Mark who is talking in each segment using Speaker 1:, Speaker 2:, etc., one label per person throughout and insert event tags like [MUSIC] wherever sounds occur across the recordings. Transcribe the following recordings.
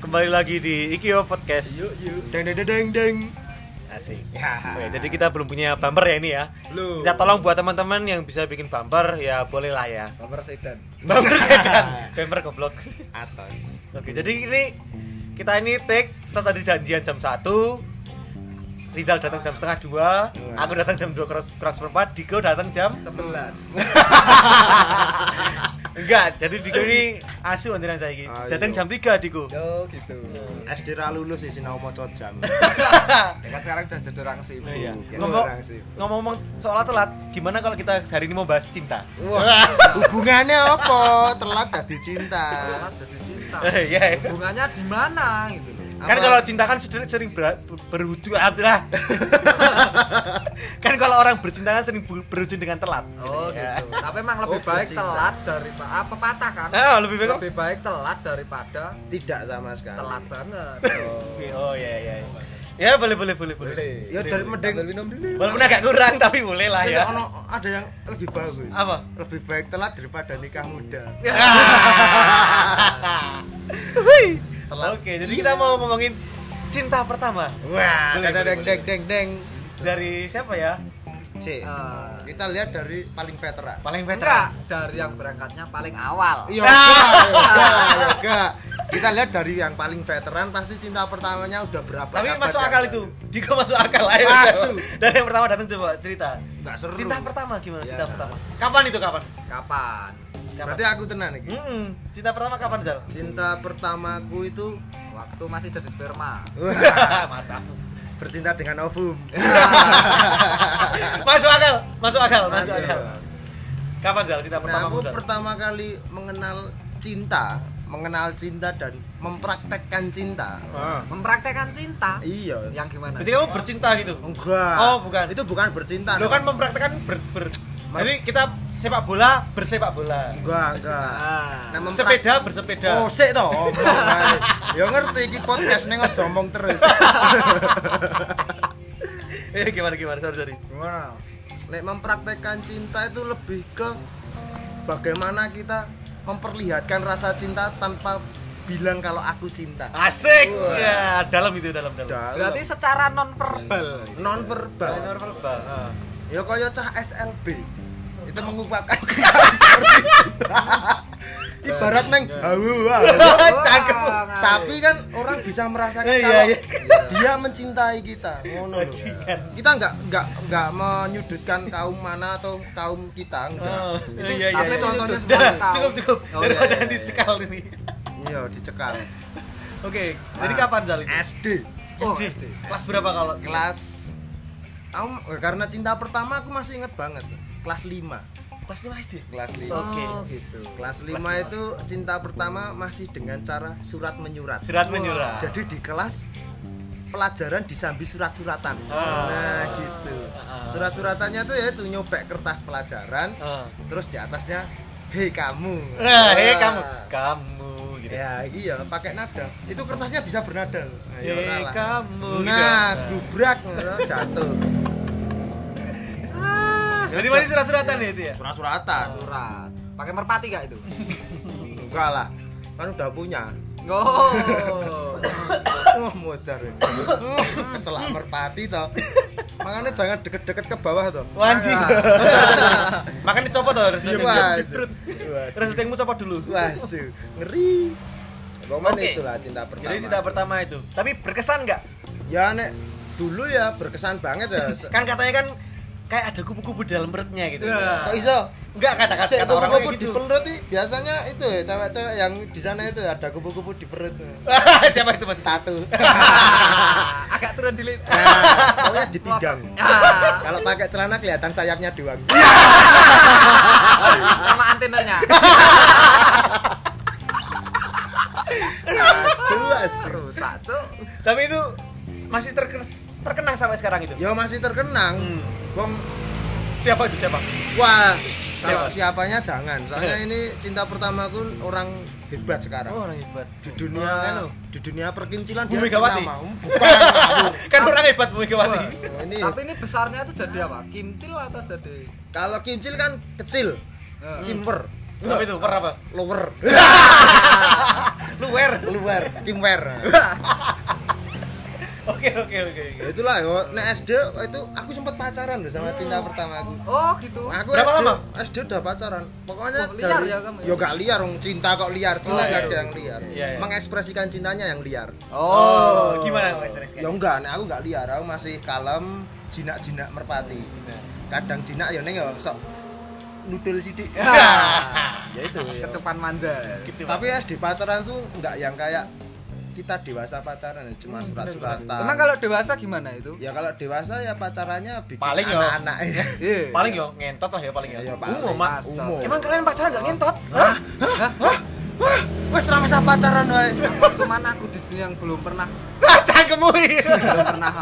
Speaker 1: kembali lagi di Ikio Podcast.
Speaker 2: Yuk, yuk.
Speaker 3: Deng deng deng deng deng.
Speaker 1: Asik.
Speaker 3: Ya.
Speaker 1: Oke, jadi kita belum punya bumper ya ini ya.
Speaker 2: Belum.
Speaker 1: Kita tolong buat teman-teman yang bisa bikin bumper ya bolehlah ya. [LAUGHS]
Speaker 2: Nomor sedan.
Speaker 1: Bumper [LAUGHS] sedan, bumper goblok.
Speaker 3: Atas.
Speaker 1: Oke, jadi ini kita ini take kita tadi janjian jam 1 Rizal datang jam setengah dua, aku datang jam dua kurang, kurang seperempat, Diko datang jam
Speaker 2: 11.
Speaker 1: enggak. Jadi Diko ini asu antrian saya ini.
Speaker 3: Ayo.
Speaker 1: Datang jam 3 Diko.
Speaker 2: Yo gitu.
Speaker 3: SD ra lulus sih sinau maca jam.
Speaker 2: [LAUGHS] Ya kan sekarang udah jadi orang sibuk.
Speaker 1: Iya.
Speaker 2: Ya,
Speaker 1: Ngomong-
Speaker 2: orang sibuk.
Speaker 1: Ngomong-ngomong soal telat, gimana kalau kita hari ini mau bahas cinta?
Speaker 2: [LAUGHS] Wah,
Speaker 3: Hubungannya apa? Telat dadi cinta.
Speaker 2: telat jadi cinta.
Speaker 1: [LAUGHS] Iya.
Speaker 2: Hubungannya di mana gitu loh.
Speaker 1: Kan
Speaker 3: Apa?
Speaker 1: kalau cinta kan sering, sering ber, berujung [LAUGHS] lah. kan kalau orang bercinta kan sering ber- berujung dengan telat.
Speaker 2: Oh
Speaker 1: Ya.
Speaker 2: gitu. Tapi emang
Speaker 3: Oh, Eh,
Speaker 2: lebih baik
Speaker 3: bercinta.
Speaker 2: telat daripada apa patah kan?
Speaker 1: Ah, lebih baik.
Speaker 2: Lebih baik telat daripada
Speaker 3: Tidak sama sekali.
Speaker 2: telat banget.
Speaker 1: Oh iya iya. Ya boleh boleh boleh boleh.
Speaker 3: Ya dari mending Eh,
Speaker 2: Sambil minum dulu.
Speaker 1: Walaupun agak kurang tapi boleh lah
Speaker 3: Sesek
Speaker 1: ya. [LAUGHS]
Speaker 3: ono ada yang lebih bagus.
Speaker 1: Apa?
Speaker 3: Lebih baik telat daripada nikah muda.
Speaker 1: Hui.
Speaker 3: Telat.
Speaker 1: Oke, jadi kita mau ngomongin cinta pertama
Speaker 3: Wah,
Speaker 1: Boleh,
Speaker 3: deng
Speaker 1: boleh,
Speaker 3: deng deng deng deng.
Speaker 1: dari siapa ya?
Speaker 3: C.
Speaker 2: Eh,
Speaker 3: Kita lihat dari paling veteran.
Speaker 1: Paling
Speaker 2: enggak
Speaker 1: veteran. Ah!
Speaker 2: dari yang berangkatnya paling awal.
Speaker 1: [LAUGHS]
Speaker 3: Iya, enggak, enggak, enggak. Kita lihat dari yang paling veteran pasti cinta pertamanya udah berapa ya?
Speaker 1: Tapi
Speaker 3: abad
Speaker 1: masuk
Speaker 3: yang
Speaker 1: akal
Speaker 3: lalu.
Speaker 1: itu. Diko masuk akal ayo. [LAUGHS]
Speaker 3: Masuk.
Speaker 1: Dari yang pertama datang coba cerita.
Speaker 3: Enggak seru.
Speaker 1: Cinta pertama gimana?
Speaker 2: Iya.
Speaker 1: Cinta pertama. Kapan itu kapan?
Speaker 2: Kapan?
Speaker 1: Kapan?
Speaker 3: Berarti aku tenang iki.
Speaker 1: Mm-mm. Cinta pertama kapan Zal? [LAUGHS]
Speaker 3: Cinta pertamaku itu
Speaker 2: Waktu masih jadi sperma.
Speaker 3: Iya.
Speaker 1: Mata.
Speaker 3: bercinta dengan Ovum.
Speaker 1: masuk akal, masuk akal, masuk,
Speaker 3: Masuk.
Speaker 1: akal. Kapan Zal cinta
Speaker 3: Nah,
Speaker 1: [LAUGHS] pertama
Speaker 3: aku
Speaker 1: Zal?
Speaker 3: pertama kali mengenal cinta, mengenal cinta dan mempraktekkan cinta.
Speaker 1: Ah.
Speaker 2: Mempraktekkan cinta.
Speaker 3: Iya.
Speaker 2: Yang gimana?
Speaker 1: Berarti kamu bercinta gitu?
Speaker 3: Enggak.
Speaker 1: Ya. Oh, bukan.
Speaker 3: Itu bukan bercinta.
Speaker 1: Lo
Speaker 3: Nak.
Speaker 1: kan mempraktekkan ber, ber.
Speaker 3: Mer-
Speaker 1: Jadi kita sepak bola bersepak bola.
Speaker 3: enggak, enggak.
Speaker 2: Ah.
Speaker 3: Nah, memprak-
Speaker 1: Sepeda bersepeda.
Speaker 3: Oh, sik [LAUGHS] to. omong ae. Ya ngerti iki podcast ning aja omong terus.
Speaker 1: [LAUGHS] Eh gimana gimana sorry sorry.
Speaker 2: Gimana?
Speaker 3: Nek mempraktekkan cinta itu lebih ke bagaimana kita memperlihatkan rasa cinta tanpa bilang kalau aku cinta.
Speaker 1: Asik.
Speaker 2: Wah.
Speaker 1: Ya, dalam itu dalam dalam.
Speaker 3: Dalam.
Speaker 2: Berarti secara non verbal.
Speaker 3: non verbal.
Speaker 1: Minor verbal. ah.
Speaker 3: Ya kaya cah SLB. Itu mengungkapkan [LAUGHS] cinta seperti itu. Ibarat neng
Speaker 1: Iya.
Speaker 3: hawa, hawa.
Speaker 1: Cakep.
Speaker 3: [LAUGHS] Tapi kan orang bisa merasakan
Speaker 1: Iya,
Speaker 3: kalau
Speaker 1: iya.
Speaker 3: dia mencintai kita. Ngono lho.
Speaker 1: Bajingan.
Speaker 3: Kita nggak nggak nggak menyudutkan kaum mana atau kaum kita enggak.
Speaker 1: Oh,
Speaker 3: itu
Speaker 1: iya, iya,
Speaker 3: tapi
Speaker 1: iya.
Speaker 3: contohnya
Speaker 2: Udah.
Speaker 3: seperti
Speaker 1: Dah, cukup cukup.
Speaker 2: Oh,
Speaker 1: Daripada
Speaker 2: iya, iya,
Speaker 1: nanti
Speaker 2: iya.
Speaker 1: cekal ini.
Speaker 3: Iya, dicekal.
Speaker 1: Oke, jadi kapan Zal itu?
Speaker 3: Eh, SD
Speaker 2: Oh,
Speaker 1: SD.
Speaker 2: SD.
Speaker 1: Kelas berapa kalau?
Speaker 3: kelas Aku- karena cinta pertama aku masih inget banget. Kelas 5.
Speaker 1: Kelas 5 SD.
Speaker 3: Kelas 5.
Speaker 1: Oke.
Speaker 2: Oh, gitu.
Speaker 3: Kelas 5 itu cinta pertama masih dengan cara surat menyurat.
Speaker 1: Surat menyurat.
Speaker 3: Jadi di kelas pelajaran disambi surat-suratan.
Speaker 1: Ah.
Speaker 3: Nah, gitu. Surat-suratannya tuh ya itu nyobek kertas pelajaran,
Speaker 1: Ah.
Speaker 3: terus di atasnya hei kamu.
Speaker 1: [LAUGHS] Nah, eh
Speaker 2: Ah.
Speaker 1: kamu, kamu gitu.
Speaker 3: Ya, iya pakai nada. Itu kertasnya bisa bernada. loh. Nah, ya
Speaker 1: Hei,
Speaker 3: ora lah.
Speaker 1: Eh, kamu,
Speaker 3: Nah,
Speaker 1: gitu.
Speaker 3: gubrak jatuh.
Speaker 1: Jadi masih surat-suratan ya
Speaker 3: Ah.
Speaker 1: itu ya.
Speaker 3: Surat-suratan.
Speaker 2: Surat. Pakai merpati gak itu?
Speaker 3: Enggak lah. Kan udah punya. Oh,
Speaker 2: Oh.
Speaker 3: [LAUGHS] Wah muter. Keselak Oh, merpati toh. Makanya jangan deket-deket ke bawah toh.
Speaker 1: Wah, anjing.
Speaker 2: Ah.
Speaker 1: Makanya dicopot tuh harus
Speaker 3: Iya,
Speaker 1: leting.
Speaker 3: Pak.
Speaker 1: Ditrut.
Speaker 3: Waduh.
Speaker 1: Harus letingmu copot dulu.
Speaker 3: Wasu, ngeri. Pokoknya
Speaker 1: Oke.
Speaker 3: itulah cinta pertama.
Speaker 1: Jadi cinta pertama itu. Tapi berkesan nggak?
Speaker 3: Ya nek dulu ya berkesan banget ya. Se-
Speaker 1: Kan katanya kan kayak ada kupu-kupu di dalam perutnya gitu.
Speaker 3: Kok iso?
Speaker 1: Enggak kata kata,
Speaker 3: Iya. Cek
Speaker 1: kata orang
Speaker 3: kupu-kupu di
Speaker 1: [LAUGHS] gitu.
Speaker 3: perut i, biasanya itu ya cewek-cewek yang di sana itu ada kupu-kupu di perut.
Speaker 1: Siapa itu Mas?
Speaker 3: Tatu.
Speaker 2: Ah, Agak turun di lid.
Speaker 3: Nah, pokoknya di pinggang.
Speaker 2: Ah,
Speaker 3: Kalau pakai celana kelihatan sayapnya doang.
Speaker 2: sama antenanya.
Speaker 1: Iya,
Speaker 3: Asu, asu.
Speaker 2: Rusak, Cuk.
Speaker 1: Tapi itu masih terkenang, terkenang sampai sekarang itu.
Speaker 3: Ya masih terkenang.
Speaker 1: Hmm.
Speaker 3: Wong
Speaker 1: Siapa itu siapa?
Speaker 3: Wah, kalau siapanya jangan. Soalnya ini cinta pertamaku orang hebat sekarang.
Speaker 1: orang hebat. Oh.
Speaker 3: Di
Speaker 1: orang anu.
Speaker 3: dunia di dunia perkincilan
Speaker 1: Bu
Speaker 3: dia
Speaker 1: Megawati.
Speaker 3: pertama. Bukan.
Speaker 1: [LAUGHS] [LAUGHS] kan orang hebat Bu Megawati.
Speaker 3: Nah,
Speaker 1: Iya.
Speaker 3: ini
Speaker 2: Tapi ini besarnya itu jadi apa? Kimcil atau jadi
Speaker 3: kalau kimcil kan kecil. Kimper,
Speaker 1: Tapi itu per apa?
Speaker 3: lower.
Speaker 1: luwer
Speaker 3: luar timware
Speaker 1: oke oke oke oke.
Speaker 3: ya itulah yo nek SD itu aku sempat pacaran loh sama cinta pertama aku
Speaker 2: Oh gitu.
Speaker 3: aku
Speaker 1: Berapa
Speaker 3: SD,
Speaker 1: lama?
Speaker 3: SD udah pacaran pokoknya
Speaker 2: Oh, liar ya kamu ya?
Speaker 3: yo gak liar dong cinta kok liar cinta
Speaker 1: Oh, iya,
Speaker 3: gak ada
Speaker 1: iya.
Speaker 3: yang liar
Speaker 1: Iya, iya.
Speaker 3: mengekspresikan cintanya yang liar
Speaker 1: oh
Speaker 2: [LAUGHS]
Speaker 1: gimana mas
Speaker 3: ya enggak nek aku gak liar aku masih kalem jinak-jinak merpati kadang jinak ya ning ya sok nudul sidik
Speaker 1: [LAUGHS] Iya.
Speaker 3: ya itu ya.
Speaker 2: Kecupan manja.
Speaker 1: gitu
Speaker 3: tapi SD pacaran tuh enggak yang kayak kita dewasa pacaran ya,
Speaker 1: Hmm,
Speaker 3: cuma surat-suratan
Speaker 2: Emang kalau dewasa gimana itu?
Speaker 1: Iya.
Speaker 3: ya kalau dewasa ya pacarannya bikin
Speaker 1: Paling ya.
Speaker 3: anak-anak ya.
Speaker 2: Iya.
Speaker 1: paling yo ngentot lah ya paling ya
Speaker 3: Ya, paling.
Speaker 1: umum mak
Speaker 2: Astaga.
Speaker 3: Umum.
Speaker 1: emang kalian pacaran gak ngentot
Speaker 2: Hah? Hah? Hah?
Speaker 3: Wah, wes ra usah pacaran wae.
Speaker 2: Cuman aku di sini yang belum pernah
Speaker 1: cangkemmu [LAUGHS]
Speaker 2: belum pernah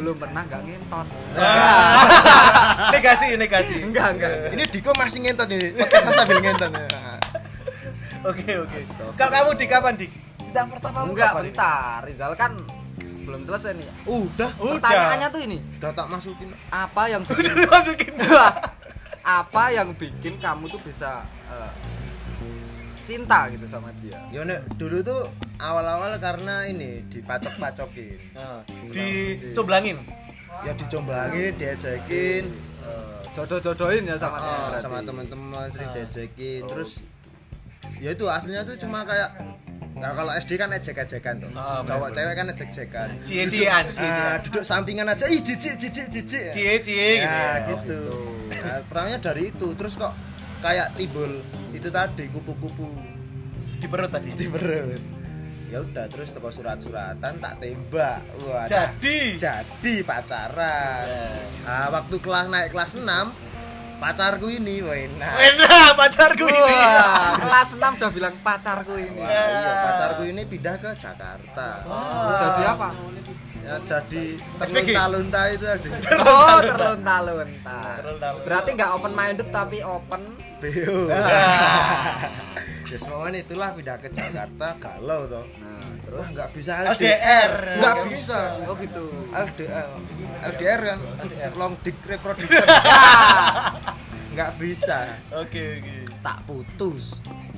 Speaker 2: belum pernah nggak ngentot.
Speaker 1: Ya. negasi negasi
Speaker 2: Enggak, enggak.
Speaker 3: Ini Diko masih ngentot ini. Podcast sambil ngentot. ya.
Speaker 1: oke oke kalau kamu di kapan di cinta pertama
Speaker 2: Enggak, bentar. Rizal kan belum selesai nih.
Speaker 3: Udah,
Speaker 2: Pertanyaannya tuh ini,
Speaker 3: udah tak masukin.
Speaker 2: apa
Speaker 1: [LAUGHS]
Speaker 2: yang bikin
Speaker 1: udah masukin
Speaker 2: apa yang bikin kamu tuh bisa eh, cinta gitu sama dia?
Speaker 3: Ya nek dulu tuh awal-awal karena ini dipacok-pacokin.
Speaker 1: Nah, dicoblangin
Speaker 3: Ya dicomblangin, diajakin
Speaker 2: Eh, jodoh-jodohin ya sama dia.
Speaker 3: ah,
Speaker 2: berarti.
Speaker 3: sama teman-teman sering
Speaker 1: Ah.
Speaker 3: diajakin. Terus ya itu aslinya tuh cuma kayak Nah, kalau SD kan ejek-ejekan tuh.
Speaker 1: Ah, bener,
Speaker 3: Cowok cewek kan ejek-ejekan.
Speaker 1: Cie-ciean,
Speaker 3: Duduk-
Speaker 1: cie-ciean.
Speaker 3: ah, duduk sampingan aja. Ih, jijik, jijik, jijik.
Speaker 1: cie cie gitu ya.
Speaker 3: ya, gitu. Nah, pertamanya dari itu, terus kok kayak timbul itu tadi kupu-kupu
Speaker 1: di perut tadi
Speaker 3: di perut. Ya udah, terus toko surat-suratan tak tembak. Wah, ca-
Speaker 1: jadi
Speaker 3: jadi pacaran.
Speaker 1: Eh.
Speaker 3: Nah, waktu kelas naik kelas 6 pacarku ini, wah enak.
Speaker 1: Enak pacarku ini.
Speaker 2: Wah, [LAUGHS] kelas 6 udah bilang pacarku ini.
Speaker 3: Wah, iya, pacarku ini pindah ke Jakarta.
Speaker 2: Oh, jadi apa?
Speaker 3: Ya, jadi
Speaker 1: SPG.
Speaker 3: terlunta-lunta itu tadi.
Speaker 2: Oh, terlunta-lunta.
Speaker 1: Terlunta-lunta.
Speaker 2: Berarti nggak open minded tapi open.
Speaker 3: BO. [LAUGHS] Ya semuanya itulah pindah ke Jakarta galau toh.
Speaker 2: Nah, terus
Speaker 3: Wah, nggak bisa
Speaker 1: LDR.
Speaker 3: Nggak bisa.
Speaker 2: oh gitu.
Speaker 3: LDR. LDR kan long dick reproduction. Nggak bisa.
Speaker 1: Oke oke.
Speaker 3: Tak putus.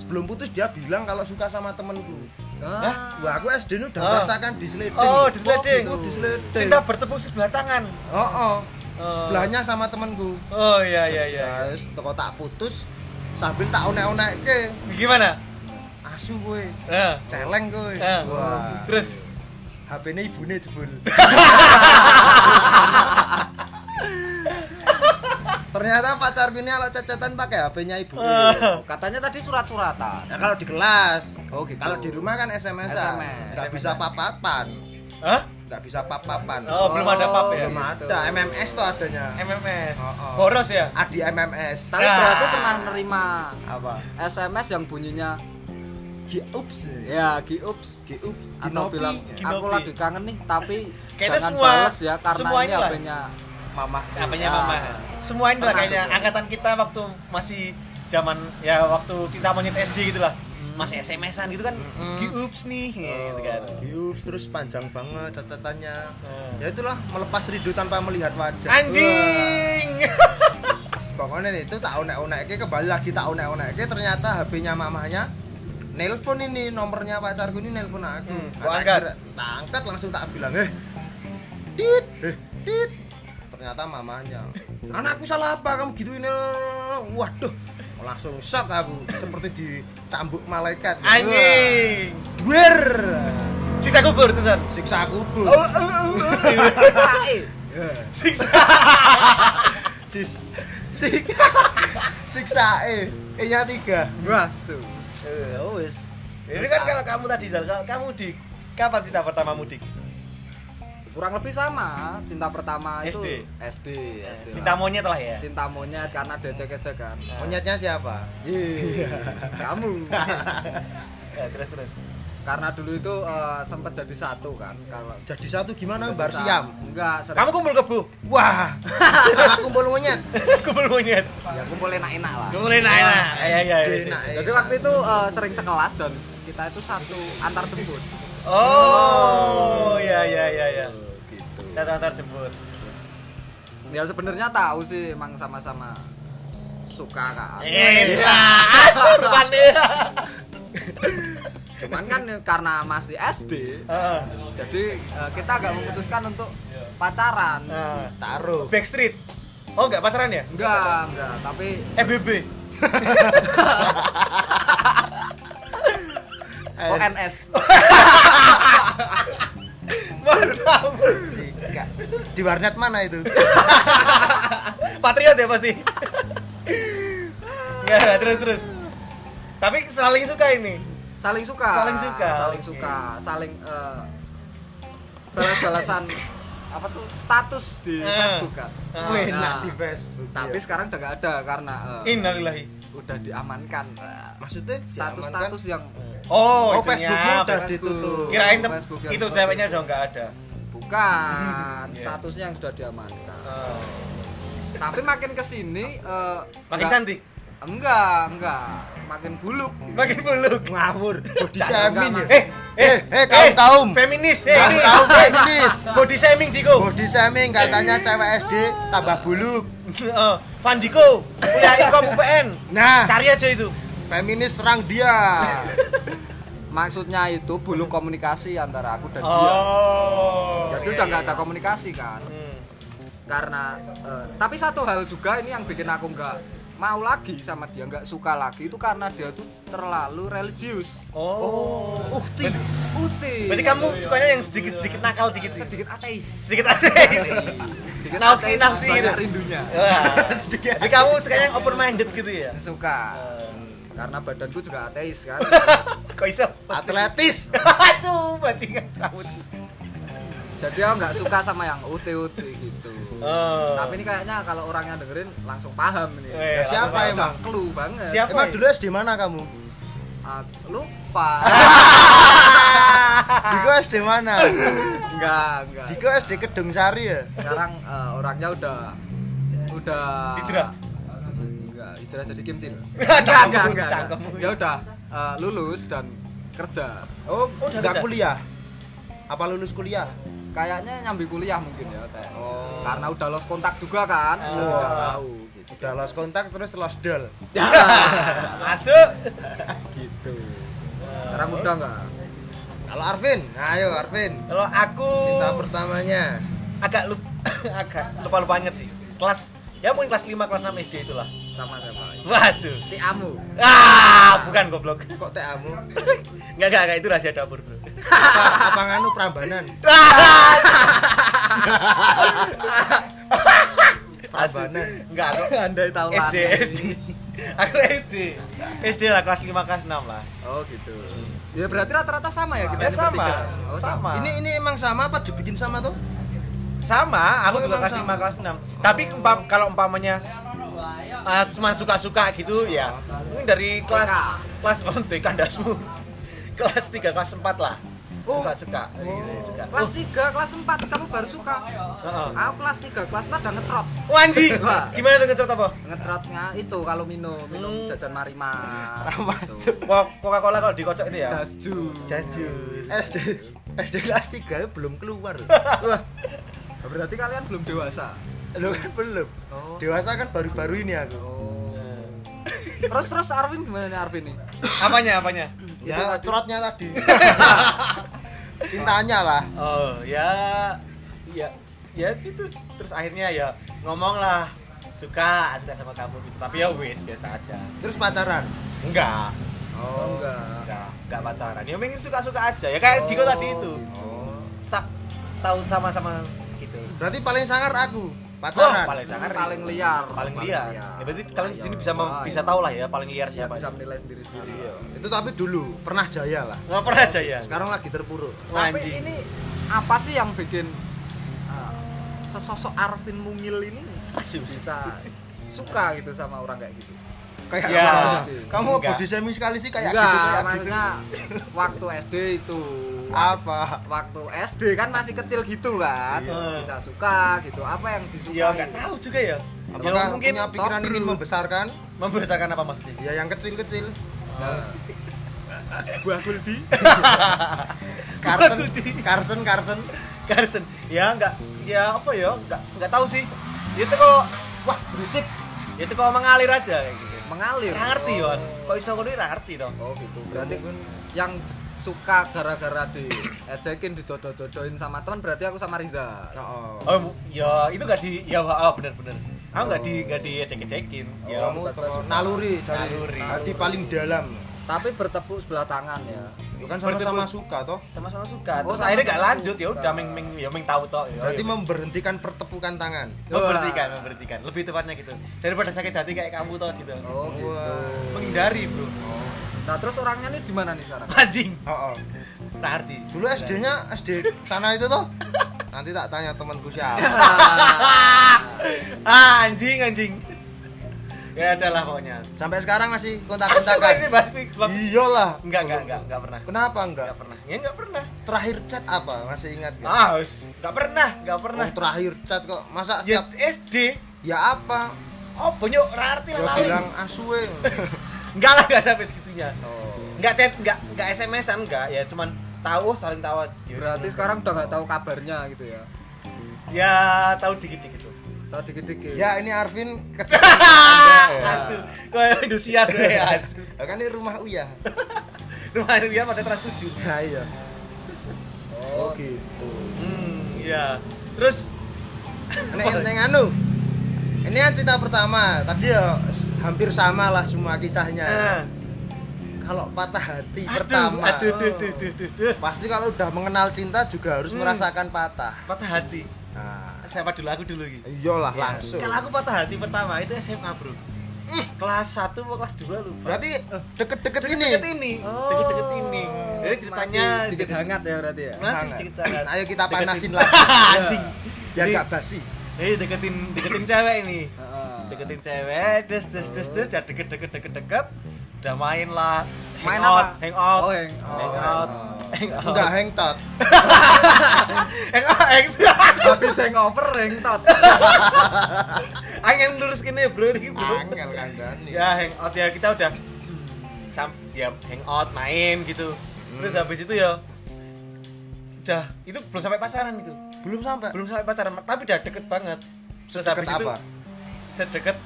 Speaker 3: Sebelum putus dia bilang kalau suka sama temenku.
Speaker 2: Ah,
Speaker 3: Wah, aku SD ini udah
Speaker 1: Ah.
Speaker 3: merasakan disleting.
Speaker 1: Oh, disleding.
Speaker 3: Oh, disleding.
Speaker 1: Cinta bertepuk sebelah tangan.
Speaker 3: Oh, oh.
Speaker 1: Oh.
Speaker 3: Sebelahnya sama temenku.
Speaker 1: Oh iya iya iya.
Speaker 3: Terus toko tak putus sambil tak onek-onek ke
Speaker 1: Gimana?
Speaker 3: asu gue
Speaker 1: Nah.
Speaker 3: celeng gue
Speaker 1: Eh.
Speaker 3: wah
Speaker 1: Terus
Speaker 3: HP ini ibune jebul ternyata pacarku ini kalau cecetan pakai HP-nya ibu
Speaker 1: Iya.
Speaker 2: oh, katanya tadi surat-suratan.
Speaker 3: nah, kalau di kelas
Speaker 2: Oh, gitu.
Speaker 3: kalau di rumah kan SMS
Speaker 2: SMS.
Speaker 3: nggak bisa papapan
Speaker 1: Hah?
Speaker 3: nggak bisa papapan
Speaker 1: Oh,
Speaker 2: gitu.
Speaker 1: belum ada pap ya.
Speaker 3: belum ada MMS tuh adanya
Speaker 1: MMS.
Speaker 3: Oh, oh.
Speaker 1: Boros ya?
Speaker 3: adi MMS
Speaker 2: Tapi
Speaker 1: Ya.
Speaker 2: berarti pernah nerima
Speaker 3: apa
Speaker 2: SMS yang bunyinya
Speaker 3: giups
Speaker 2: ya giups
Speaker 3: giups
Speaker 2: atau bilang
Speaker 1: Ginopi.
Speaker 2: aku lagi kangen nih tapi
Speaker 1: Kayaknya
Speaker 2: jangan
Speaker 1: semua-
Speaker 2: balas ya karena
Speaker 1: semua
Speaker 2: ini
Speaker 1: inilah.
Speaker 2: HP-nya
Speaker 3: mamah
Speaker 1: Apanya
Speaker 2: Ya.
Speaker 1: mama? Semua ini lah
Speaker 2: Pernah
Speaker 1: kayaknya
Speaker 2: aku.
Speaker 1: angkatan kita waktu masih zaman ya waktu cinta monyet SD gitu lah. Masih SMS-an gitu kan. Giups nih gitu kan.
Speaker 3: giups terus panjang banget cecetannya
Speaker 1: Oh.
Speaker 3: ya itulah melepas rindu tanpa melihat wajah
Speaker 1: Anjing.
Speaker 3: Pas pokoknya nih, itu tak onek-onekke kembali lagi tak onek-onekke ternyata HP-nya mamahnya nelpon ini nomornya pacarku ini nelpon aku.
Speaker 1: Hmm,
Speaker 3: Tak
Speaker 1: kok angkat?
Speaker 3: tak angkat langsung tak bilang, "Eh. Tit, eh, tit." Ternyata mamahnya. Anakku salah apa kamu gituin? eh." Waduh. Langsung shock aku seperti dicambuk malaikat.
Speaker 1: Anjing.
Speaker 3: Wah, Duer.
Speaker 1: Siksa kubur terusan.
Speaker 3: Siksa kubur.
Speaker 1: Oh, oh, oh, oh. Siksa. [LAUGHS]
Speaker 3: Sis. [LAUGHS] Sik. Siksa E. E-nya 3.
Speaker 2: Wasu.
Speaker 3: Ya wis.
Speaker 1: Eh, Ini kan kalau kamu tadi Zal, kalau kamu di kapan cinta pertamamu Dik?
Speaker 2: Kurang lebih sama, cinta pertama itu
Speaker 1: SD.
Speaker 2: SD, SD.
Speaker 1: Cinta
Speaker 2: lah.
Speaker 1: monyet lah ya.
Speaker 2: cinta monyet karena ada jaga kan.
Speaker 1: Nah.
Speaker 3: Monyetnya siapa?
Speaker 2: Iya. Kamu.
Speaker 1: Ya, terus terus.
Speaker 2: karena dulu itu eh, sempat jadi satu kan kalau
Speaker 3: Jadi satu gimana?
Speaker 2: jadi
Speaker 3: Bar
Speaker 2: satu.
Speaker 3: siam.
Speaker 2: Enggak, sering.
Speaker 1: Kamu kumpul kebo.
Speaker 3: Wah, [LAUGHS] aku kumpul monyet.
Speaker 1: [LAUGHS] kumpul monyet.
Speaker 2: ya kumpul enak-enak lah.
Speaker 1: Kumpul enak enak.
Speaker 3: Nah,
Speaker 1: Iya iya.
Speaker 3: SD,
Speaker 1: iya, iya.
Speaker 3: nak, eh.
Speaker 2: Jadi waktu itu eh, sering sekelas dan kita itu satu antar jemput.
Speaker 1: Oh, iya iya iya iya. Kita antar jemput.
Speaker 2: Ya sebenarnya tahu sih emang sama-sama suka kan.
Speaker 1: Iya. [LAUGHS] Eh, lah, asur panik.
Speaker 2: cuman kan karena masih SD
Speaker 1: Heeh.
Speaker 2: jadi eh, kita agak memutuskan untuk pacaran
Speaker 1: Nah,
Speaker 3: taruh
Speaker 1: Backstreet. Oh, enggak pacaran ya?
Speaker 2: enggak enggak tapi
Speaker 1: FBB. Oh,
Speaker 2: ONS
Speaker 1: Mantap.
Speaker 3: Sikat. di warnet mana itu
Speaker 1: Oh, Patriot ya pasti. [LAUGHS] ya, terus terus. Tapi saling suka ini.
Speaker 2: saling suka
Speaker 1: Saling suka.
Speaker 2: saling suka saling eh, balas-balasan apa tuh status di
Speaker 1: Eh.
Speaker 2: Facebook kan
Speaker 1: Ah,
Speaker 3: Wih,
Speaker 2: nah.
Speaker 3: enak di Facebook
Speaker 2: tapi
Speaker 3: Iya.
Speaker 2: sekarang udah nggak ada karena eh,
Speaker 1: Innalillahi.
Speaker 2: udah diamankan
Speaker 3: maksudnya
Speaker 2: status-status yang
Speaker 1: Oh,
Speaker 3: oh, ah,
Speaker 1: itunya.
Speaker 3: Facebookmu udah
Speaker 2: Facebook.
Speaker 3: ditutup
Speaker 1: kirain tem-
Speaker 2: Facebook yang
Speaker 1: itu
Speaker 2: seperti
Speaker 1: ceweknya udah enggak ada.
Speaker 2: Hmm, bukan
Speaker 1: [LAUGHS] Iya.
Speaker 2: statusnya yang sudah diamankan
Speaker 1: Oh.
Speaker 2: tapi makin kesini eh,
Speaker 1: Makin
Speaker 2: nggak-
Speaker 1: cantik,
Speaker 2: enggak enggak makin buluk
Speaker 1: makin buluk.
Speaker 3: ngawur body
Speaker 2: Jangan,
Speaker 3: shaming
Speaker 2: Mas.
Speaker 3: ya eh eh eh kaum kaum
Speaker 1: feminis, eh,
Speaker 3: kaum
Speaker 1: ini.
Speaker 3: kaum feminis
Speaker 1: Body shaming Diko.
Speaker 3: body shaming katanya cewek SD tambah buluk
Speaker 1: [LAUGHS] Oh, Van Diko, kuliah Ikom UPN.
Speaker 3: nah
Speaker 1: Cari aja itu.
Speaker 3: feminis serang dia
Speaker 2: maksudnya itu buluk komunikasi antara aku dan
Speaker 3: Iya.
Speaker 2: dia
Speaker 1: Oh.
Speaker 2: jadi udah nggak ada komunikasi kan
Speaker 1: Hmm.
Speaker 2: karena eh, tapi satu hal juga ini yang bikin aku nggak mau lagi sama dia nggak suka lagi itu karena dia tuh terlalu religius
Speaker 1: Oh.
Speaker 3: ukti
Speaker 2: putih
Speaker 1: Berarti kamu sukanya yang sedikit-sedikit nakal dikit
Speaker 2: sedikit ateis
Speaker 1: sedikit
Speaker 3: Iya,
Speaker 1: [LAUGHS] aja.
Speaker 2: [LAUGHS] sedikit
Speaker 1: Nauti,
Speaker 2: ateis
Speaker 1: nauti
Speaker 2: banyak
Speaker 1: gitu.
Speaker 2: rindunya
Speaker 1: Jadi kamu sukanya yang open minded gitu
Speaker 3: [LAUGHS]
Speaker 1: ya?
Speaker 2: suka Hmm, karena badanku juga ateis kan
Speaker 1: Kok iso? [LAUGHS]
Speaker 3: atletis
Speaker 1: Asu bajingan kamu. tuh.
Speaker 2: jadi aku nggak suka sama yang ut-ut gitu
Speaker 1: Oh.
Speaker 2: tapi ini kayaknya kalau orang yang dengerin langsung paham
Speaker 1: Weh,
Speaker 2: nih
Speaker 3: siapa
Speaker 1: Eh, langsung
Speaker 3: emang?
Speaker 2: clue banget
Speaker 1: Siapa?
Speaker 3: emang
Speaker 1: ya?
Speaker 3: dulu SD mana kamu
Speaker 2: Ah,
Speaker 1: [LAUGHS]
Speaker 2: lupa
Speaker 3: Diko SD mana
Speaker 1: [LAUGHS]
Speaker 2: enggak enggak
Speaker 3: Diko SD Kedung Sari ya
Speaker 2: sekarang eh, orangnya udah udah
Speaker 1: Hijrah?
Speaker 2: enggak hijrah jadi Kim
Speaker 1: [LAUGHS]
Speaker 2: Sin
Speaker 1: Cakep,
Speaker 2: enggak enggak enggak
Speaker 1: cakep.
Speaker 2: dia udah eh, lulus dan kerja
Speaker 3: oh
Speaker 1: udah
Speaker 3: nggak
Speaker 1: kerja.
Speaker 3: kuliah apa lulus kuliah Oh.
Speaker 2: kayaknya nyambi kuliah mungkin ya kayak karena udah lost kontak juga kan
Speaker 1: Oh.
Speaker 2: jadi nggak tahu
Speaker 1: [LAUGHS]
Speaker 2: gitu
Speaker 3: udah lost kontak terus lost doll
Speaker 2: ya
Speaker 3: Ah.
Speaker 1: Masuk.
Speaker 2: gitu sekarang udah enggak
Speaker 3: kalau Arvin Nah, ayo Arvin
Speaker 1: Kalau aku
Speaker 3: cinta pertamanya
Speaker 1: agak lup [COUGHS] agak lupa lupa banget sih. Kelas ya mungkin kelas 5 kelas 6 SD itulah.
Speaker 2: sama sama
Speaker 1: Masuk. [LAUGHS]
Speaker 2: tiamu
Speaker 1: Ah, bukan goblok.
Speaker 3: kok TAmu
Speaker 1: Enggak enggak enggak, itu rahasia dapur, Bro. Ah,
Speaker 3: apa, apa nganu Prambanan
Speaker 1: Asu.
Speaker 3: Prambanan
Speaker 1: Enggak, aku
Speaker 2: andai tahu
Speaker 1: SD
Speaker 2: lagi.
Speaker 1: SD. Aku SD. SD lah kelas 5 kelas 6 lah.
Speaker 2: oh gitu ya berarti rata-rata sama ya kita
Speaker 1: Ya
Speaker 2: ini
Speaker 1: sama.
Speaker 2: bertiga? oh sama
Speaker 3: ini ini emang sama apa dibikin sama tuh
Speaker 1: sama aku
Speaker 3: Oh,
Speaker 1: juga
Speaker 3: emang
Speaker 1: kelas
Speaker 3: sama.
Speaker 1: 5 kelas 6 tapi umpam- kalau umpamanya eh, cuma suka-suka gitu ya mungkin dari kelas kelas [LAUGHS] ontek kandasmu kelas 3 kelas 4 lah
Speaker 2: Oh.
Speaker 1: suka-suka gitu, suka Oh,
Speaker 2: kelas 3, kelas 4 kamu baru suka
Speaker 1: Heeh.
Speaker 2: aku kelas 3, kelas 4 udah ngetrot
Speaker 1: Wah, anjing.
Speaker 2: [LAUGHS] Wah.
Speaker 1: gimana tuh ngecat apa
Speaker 2: ngetrotnya itu kalau minum minum
Speaker 1: Hmm.
Speaker 2: jajan Gitu. marimas
Speaker 3: Nah, Masuk.
Speaker 1: Ko- Coca-Cola kalau dikocok itu ya
Speaker 2: jasju
Speaker 1: just juice
Speaker 3: SD SD kelas 3 belum keluar
Speaker 2: wah Oh, berarti kalian belum dewasa
Speaker 3: lo kan belum
Speaker 2: Oh.
Speaker 3: dewasa kan baru-baru ini aku
Speaker 2: oh terus terus Arvin gimana nih Arvin nih
Speaker 1: apanya apanya
Speaker 3: [LAUGHS] ya curotnya
Speaker 2: [LAUGHS]
Speaker 3: tadi cintanya lah
Speaker 1: oh ya ya ya itu terus akhirnya ya ngomong lah suka suka sama kamu gitu tapi ya wis biasa aja
Speaker 3: terus pacaran
Speaker 1: enggak
Speaker 2: oh enggak
Speaker 1: Enggak, enggak pacaran. Ya mungkin suka-suka aja. Ya kayak Diko tadi itu.
Speaker 3: Oh, gitu.
Speaker 1: Sa tahun sama-sama gitu.
Speaker 3: berarti paling sangar aku
Speaker 1: Oh,
Speaker 3: pacaran
Speaker 1: paling sangar.
Speaker 2: paling liar
Speaker 1: paling liar. Ya berarti kalian di sini bisa mem- bisa tahu lah ya paling liar
Speaker 2: ya
Speaker 1: siapa.
Speaker 2: bisa menilai sendiri sendiri
Speaker 3: itu tapi dulu pernah jaya lah
Speaker 1: Ngoper aja ya.
Speaker 3: sekarang lagi terpuruk
Speaker 2: tapi
Speaker 1: Anjing.
Speaker 2: ini apa sih yang bikin uh, sesosok Arvin mungil ini
Speaker 1: Asu.
Speaker 2: bisa suka gitu sama orang kayak gitu
Speaker 3: kayak
Speaker 1: Ya.
Speaker 3: apa?
Speaker 2: Enggak.
Speaker 3: kamu kok body shaming sekali sih kayak
Speaker 2: enggak
Speaker 3: gitu kayak
Speaker 2: maksudnya waktu SD itu
Speaker 3: gitu apa
Speaker 2: waktu SD kan masih kecil gitu kan
Speaker 1: Iya.
Speaker 2: bisa suka gitu apa yang disukai
Speaker 1: Ya enggak tahu juga ya. Ya
Speaker 3: apakah
Speaker 1: mungkin
Speaker 3: punya pikiran
Speaker 2: top
Speaker 3: ingin
Speaker 2: root.
Speaker 3: membesarkan
Speaker 1: membesarkan apa maksudnya? [LAUGHS]
Speaker 3: ya yang kecil-kecil
Speaker 2: Nah. buah guldi
Speaker 3: Carson
Speaker 1: Waduh, di-
Speaker 3: Carson Carson
Speaker 1: Garson. Ya enggak ya apa ya? Enggak enggak tahu sih. Ya, Itu kok wah berisik. Ya, Itu kok mengalir aja kayak gitu. ya,
Speaker 2: mengalir
Speaker 1: Nggak ngerti,
Speaker 2: Oh.
Speaker 1: Yon. Kok iso ngono nggak ngerti dong.
Speaker 2: oh gitu berarti yang suka gara-gara di ejekin dijodoh-jodohin sama teman berarti aku sama Riza
Speaker 3: Oh,
Speaker 1: Oh, bu- ya itu nggak di ya ah, bener-bener. Aku nggak di nggak di cekin.
Speaker 3: ya,
Speaker 1: Ya,
Speaker 3: kamu
Speaker 2: batas-
Speaker 3: teko naluri dari
Speaker 1: Naluri.
Speaker 3: hati paling dalam.
Speaker 2: tapi bertepuk sebelah tangan ya
Speaker 3: Itu kan sama-sama suka toh.
Speaker 1: sama-sama suka.
Speaker 2: Oh,
Speaker 1: Terus akhirnya
Speaker 2: sama-sama
Speaker 1: nggak lanjut ya
Speaker 2: suka.
Speaker 1: udah ming ming ya ming tahu toh. Ya,
Speaker 3: Berarti
Speaker 1: ya.
Speaker 3: memberhentikan pertepukan tangan.
Speaker 1: memberhentikan, memberhentikan. Lebih tepatnya gitu. Daripada sakit hati kayak kamu toh gitu.
Speaker 2: oh gitu
Speaker 3: Wah.
Speaker 1: Menghindari, Bro.
Speaker 2: nah terus orangnya nih di mana nih sekarang
Speaker 1: Anjing.
Speaker 3: Oh, oh.
Speaker 1: Nah, arti.
Speaker 3: Dulu SD-nya SD sana itu
Speaker 1: [LAUGHS]
Speaker 3: toh. Nanti tak tanya temanku siapa.
Speaker 2: Nah.
Speaker 1: [LAUGHS] Ah, anjing, anjing. Ya adalah pokoknya.
Speaker 3: Sampai sekarang
Speaker 1: Asal
Speaker 3: masih
Speaker 1: sih
Speaker 3: kontak-kontakan.
Speaker 1: Mas Pik.
Speaker 2: Iya.
Speaker 3: Iyalah.
Speaker 1: Enggak, enggak, enggak, enggak pernah.
Speaker 3: Kenapa enggak?
Speaker 1: Enggak pernah. Ya enggak pernah.
Speaker 3: Terakhir chat apa? Masih ingat
Speaker 2: Iya.
Speaker 3: enggak?
Speaker 1: Ah, us. enggak pernah, enggak pernah.
Speaker 3: Oh, terakhir chat kok. Masa
Speaker 1: Ya
Speaker 3: setiap
Speaker 1: SD.
Speaker 3: ya apa?
Speaker 1: Oh, banyak rarti
Speaker 3: Ya
Speaker 1: lah
Speaker 3: bilang eh."
Speaker 1: lali.
Speaker 3: aswe.
Speaker 1: Enggak lah, enggak sampai segitunya.
Speaker 3: Oh.
Speaker 1: Enggak chat, enggak enggak SMS-an enggak, ya cuman tahu saling tahu. Ya,
Speaker 2: berarti sekarang udah nggak tahu kabarnya gitu ya
Speaker 1: ya tahu dikit-dikit tuh.
Speaker 2: tahu dikit-dikit
Speaker 3: Ya ini Arvin ke
Speaker 2: ya.
Speaker 1: Asu. Kau Indonesia gue asu.
Speaker 3: Ya kan ini rumah Uya.
Speaker 1: Rumah Arya pada trans 7.
Speaker 3: Nah, iya.
Speaker 2: oh
Speaker 3: gitu.
Speaker 1: Hmm, iya. Terus
Speaker 3: Neng neng anu. Ini kan cerita pertama. Tadi ya s- hampir sama lah semua kisahnya.
Speaker 1: ah,
Speaker 3: Kalau patah hati
Speaker 1: aduh,
Speaker 3: pertama,
Speaker 1: Aduh, aduh, aduh, aduh, aduh, aduh.
Speaker 3: pasti kalau udah mengenal cinta juga harus merasakan patah.
Speaker 1: Patah hati.
Speaker 3: Nah,
Speaker 1: Siapa dulu aku dulu gitu.
Speaker 3: iyalah
Speaker 1: Ya,
Speaker 3: langsung.
Speaker 1: Kalau aku patah hati pertama itu SMA, Bro. Kelas 1 atau kelas 2 lupa.
Speaker 3: Berarti eh, deket-deket ini.
Speaker 1: deket ini, deket-deket ini. Jadi ceritanya
Speaker 2: Oh. masih sedikit hangat ya berarti ya
Speaker 1: Masih
Speaker 3: Hangat.
Speaker 1: sedikit hangat.
Speaker 3: Ayo kita
Speaker 1: Deketin.
Speaker 3: panasin lagi.
Speaker 1: [LAUGHS] Anjing.
Speaker 3: Ya
Speaker 1: Jadi-
Speaker 3: enggak basi.
Speaker 1: Jadi deketin deketin cewek ini.
Speaker 2: Heeh.
Speaker 1: Deketin cewek, des des des des, ya deket deket deket deket. Udah main lah.
Speaker 2: Main
Speaker 1: Hangout,
Speaker 2: apa?
Speaker 1: Hangout.
Speaker 2: Oh, hangout. [LAUGHS]
Speaker 1: Hangout. Hangout.
Speaker 3: Enggak hengtot.
Speaker 1: Hangout. hangout. [LAUGHS]
Speaker 2: habis hangover hengtot
Speaker 1: Angin lurus kene, Bro. Ini, bro.
Speaker 3: Angel kandani.
Speaker 1: Ya hangout ya kita udah sam ya hangout main gitu. Terus habis itu ya udah itu belum sampai pasaran gitu.
Speaker 3: Belum sampai.
Speaker 1: belum sampai pacaran tapi udah deket banget terus
Speaker 3: Sedekat
Speaker 1: habis itu
Speaker 3: apa?
Speaker 1: sedekat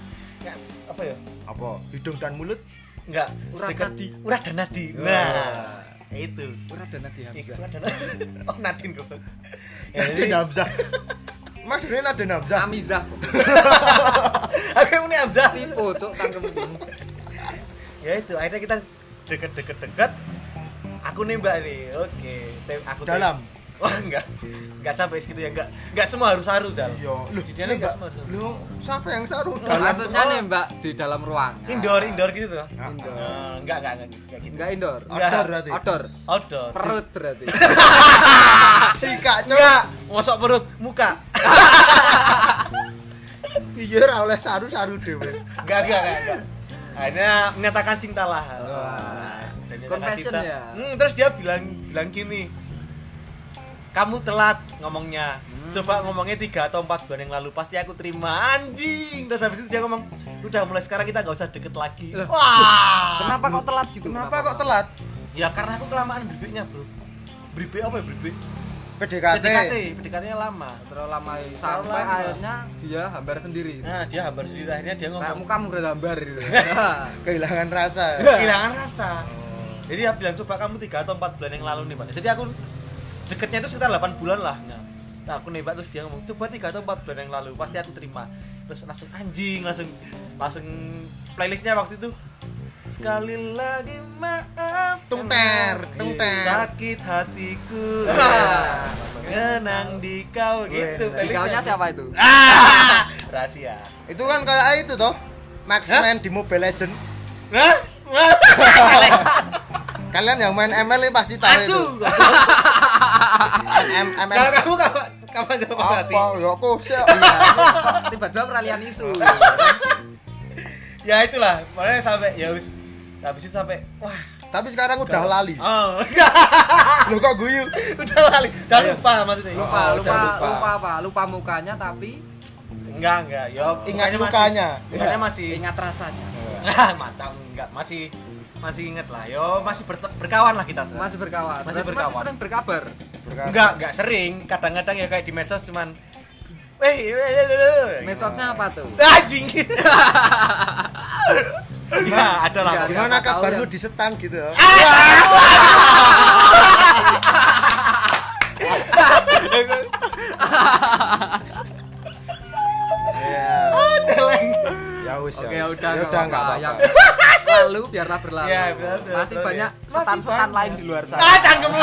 Speaker 1: ya, apa ya
Speaker 3: Apa? Hidung dan mulut?
Speaker 1: enggak
Speaker 2: Urat
Speaker 1: sedekat-
Speaker 2: nadi.
Speaker 1: urat dan nadi
Speaker 3: Ya.
Speaker 1: nah
Speaker 3: Oh.
Speaker 1: itu
Speaker 2: urat dana di
Speaker 1: Eh,
Speaker 2: Hamzah
Speaker 1: urat dan nadi [LAUGHS] oh nadin kok ya, jadi
Speaker 3: Naden Hamzah. Maksudnya Naden Hamzah.
Speaker 2: Amizah
Speaker 1: [LAUGHS] aku yang ini Hamzah
Speaker 2: tipu cuk tangkemmu
Speaker 1: ya itu akhirnya kita deket-deket deket aku nembak nih oke Tem- aku tem- [LAUGHS]
Speaker 3: Dalam?
Speaker 1: wah enggak enggak sampai segitu ya enggak enggak semua harus harus Zal
Speaker 3: Iya,
Speaker 1: lu
Speaker 3: loh,
Speaker 1: dia enggak
Speaker 3: ini enggak.
Speaker 1: semua harus harus.
Speaker 3: Loh, siapa yang saru?
Speaker 2: maksudnya nih mbak di dalam ruangan
Speaker 1: indoor indoor gitu tuh
Speaker 3: Indoor.
Speaker 1: Eh, enggak enggak enggak enggak gitu
Speaker 2: enggak indoor
Speaker 3: Outdoor berarti.
Speaker 2: outdoor
Speaker 1: outdoor
Speaker 2: perut berarti
Speaker 3: Sikak, Cok.
Speaker 1: enggak mosok perut muka
Speaker 3: Iya ora oleh saru-saru
Speaker 2: [LAUGHS]
Speaker 3: dhewe.
Speaker 1: enggak enggak enggak, enggak. akhirnya menyatakan cinta lah Dan menyatakan
Speaker 2: Confession ya?
Speaker 1: Hmm, terus dia bilang bilang gini kamu telat ngomongnya coba ngomongnya tiga atau empat bulan yang lalu pasti aku terima anjing terus habis itu dia ngomong udah mulai sekarang kita nggak usah deket lagi
Speaker 2: Lah.
Speaker 1: wah
Speaker 2: kenapa kok telat gitu
Speaker 3: Kenapa kok telat?
Speaker 1: ya karena aku kelamaan bribiknya bro bribik apa ya bribik
Speaker 3: PDKT.
Speaker 1: PDKT PDKT nya lama
Speaker 2: terlalu lama sampai
Speaker 1: lama.
Speaker 2: akhirnya dia hambar sendiri
Speaker 1: nah dia hambar sendiri akhirnya dia
Speaker 2: kayak
Speaker 1: ngomong
Speaker 2: muka murid hambar gitu
Speaker 1: [LAUGHS]
Speaker 3: Kehilangan rasa.
Speaker 2: Iya.
Speaker 1: kehilangan rasa jadi dia bilang coba kamu tiga atau empat bulan yang lalu nih pak jadi aku deketnya itu sekitar 8 bulan lah Nah, nah, aku nembak terus dia ngomong coba tiga atau empat bulan yang lalu pasti aku terima terus langsung anjing langsung langsung playlistnya waktu itu sekali lagi maaf
Speaker 3: Tung ter, tung ter.
Speaker 1: sakit
Speaker 3: [LAUGHS]
Speaker 1: hatiku
Speaker 2: Wah.
Speaker 1: mengenang di kau gitu
Speaker 2: di kaunya siapa
Speaker 1: [LAUGHS]
Speaker 2: itu
Speaker 1: ah rahasia
Speaker 3: Itu kan kayak itu toh. Maxman di Mobile Legend.
Speaker 1: Hah?
Speaker 3: Kalian yang main ML ini pasti tahu itu.
Speaker 1: asu
Speaker 3: M ML.
Speaker 1: kalau kamu kapan kapan sama hati
Speaker 3: Apa? Ya aku siap.
Speaker 2: tiba-tiba peralihan isu
Speaker 1: Oh, ya itulah makanya sampai ya wis habis itu sampai wah
Speaker 3: Tapi sekarang udah lali.
Speaker 1: oh [LAUGHS]
Speaker 3: Loh kok guyu?
Speaker 1: udah lali udah lupa maksudnya
Speaker 2: lupa
Speaker 3: Oh, udah
Speaker 2: lupa
Speaker 3: lupa.
Speaker 2: lupa apa lupa mukanya tapi
Speaker 1: enggak enggak ya
Speaker 3: Ingat
Speaker 1: pokoknya masih-
Speaker 3: lukanya. Iya.
Speaker 1: pokoknya masih
Speaker 2: ingat rasanya
Speaker 1: Ah, mata enggak masih masih inget lah yo masih berte- berkawan lah kita Sel.
Speaker 2: masih berkawan
Speaker 1: Masih
Speaker 2: Berarti
Speaker 1: berkawan.
Speaker 2: sering berkabar
Speaker 1: enggak enggak sering kadang-kadang ya kayak di medsos cuman eh eh, eh, eh, eh. [LAUGHS]
Speaker 2: mesotnya apa tuh
Speaker 1: anjing Iya, ada lah. Ah,
Speaker 2: Iya,
Speaker 3: Gimana
Speaker 2: Siapa tahu
Speaker 3: kabarmu
Speaker 2: yang- Ya.
Speaker 3: di setan gitu? Ya.
Speaker 1: Celeng.
Speaker 3: Ya wis
Speaker 2: Oke,
Speaker 3: ya. wis.
Speaker 2: udah,
Speaker 3: Ya
Speaker 2: nggak
Speaker 3: udah enggak
Speaker 2: apa-apa.
Speaker 3: apa-apa.
Speaker 2: Yang Lalu biarlah berlalu.
Speaker 1: Iya, biarlah berlalu,
Speaker 2: Masih
Speaker 1: ya.
Speaker 2: banyak
Speaker 1: Masih
Speaker 2: setan-setan
Speaker 1: banyak.
Speaker 2: lain di luar sana.
Speaker 1: [LAUGHS] Ah, cangkem lu.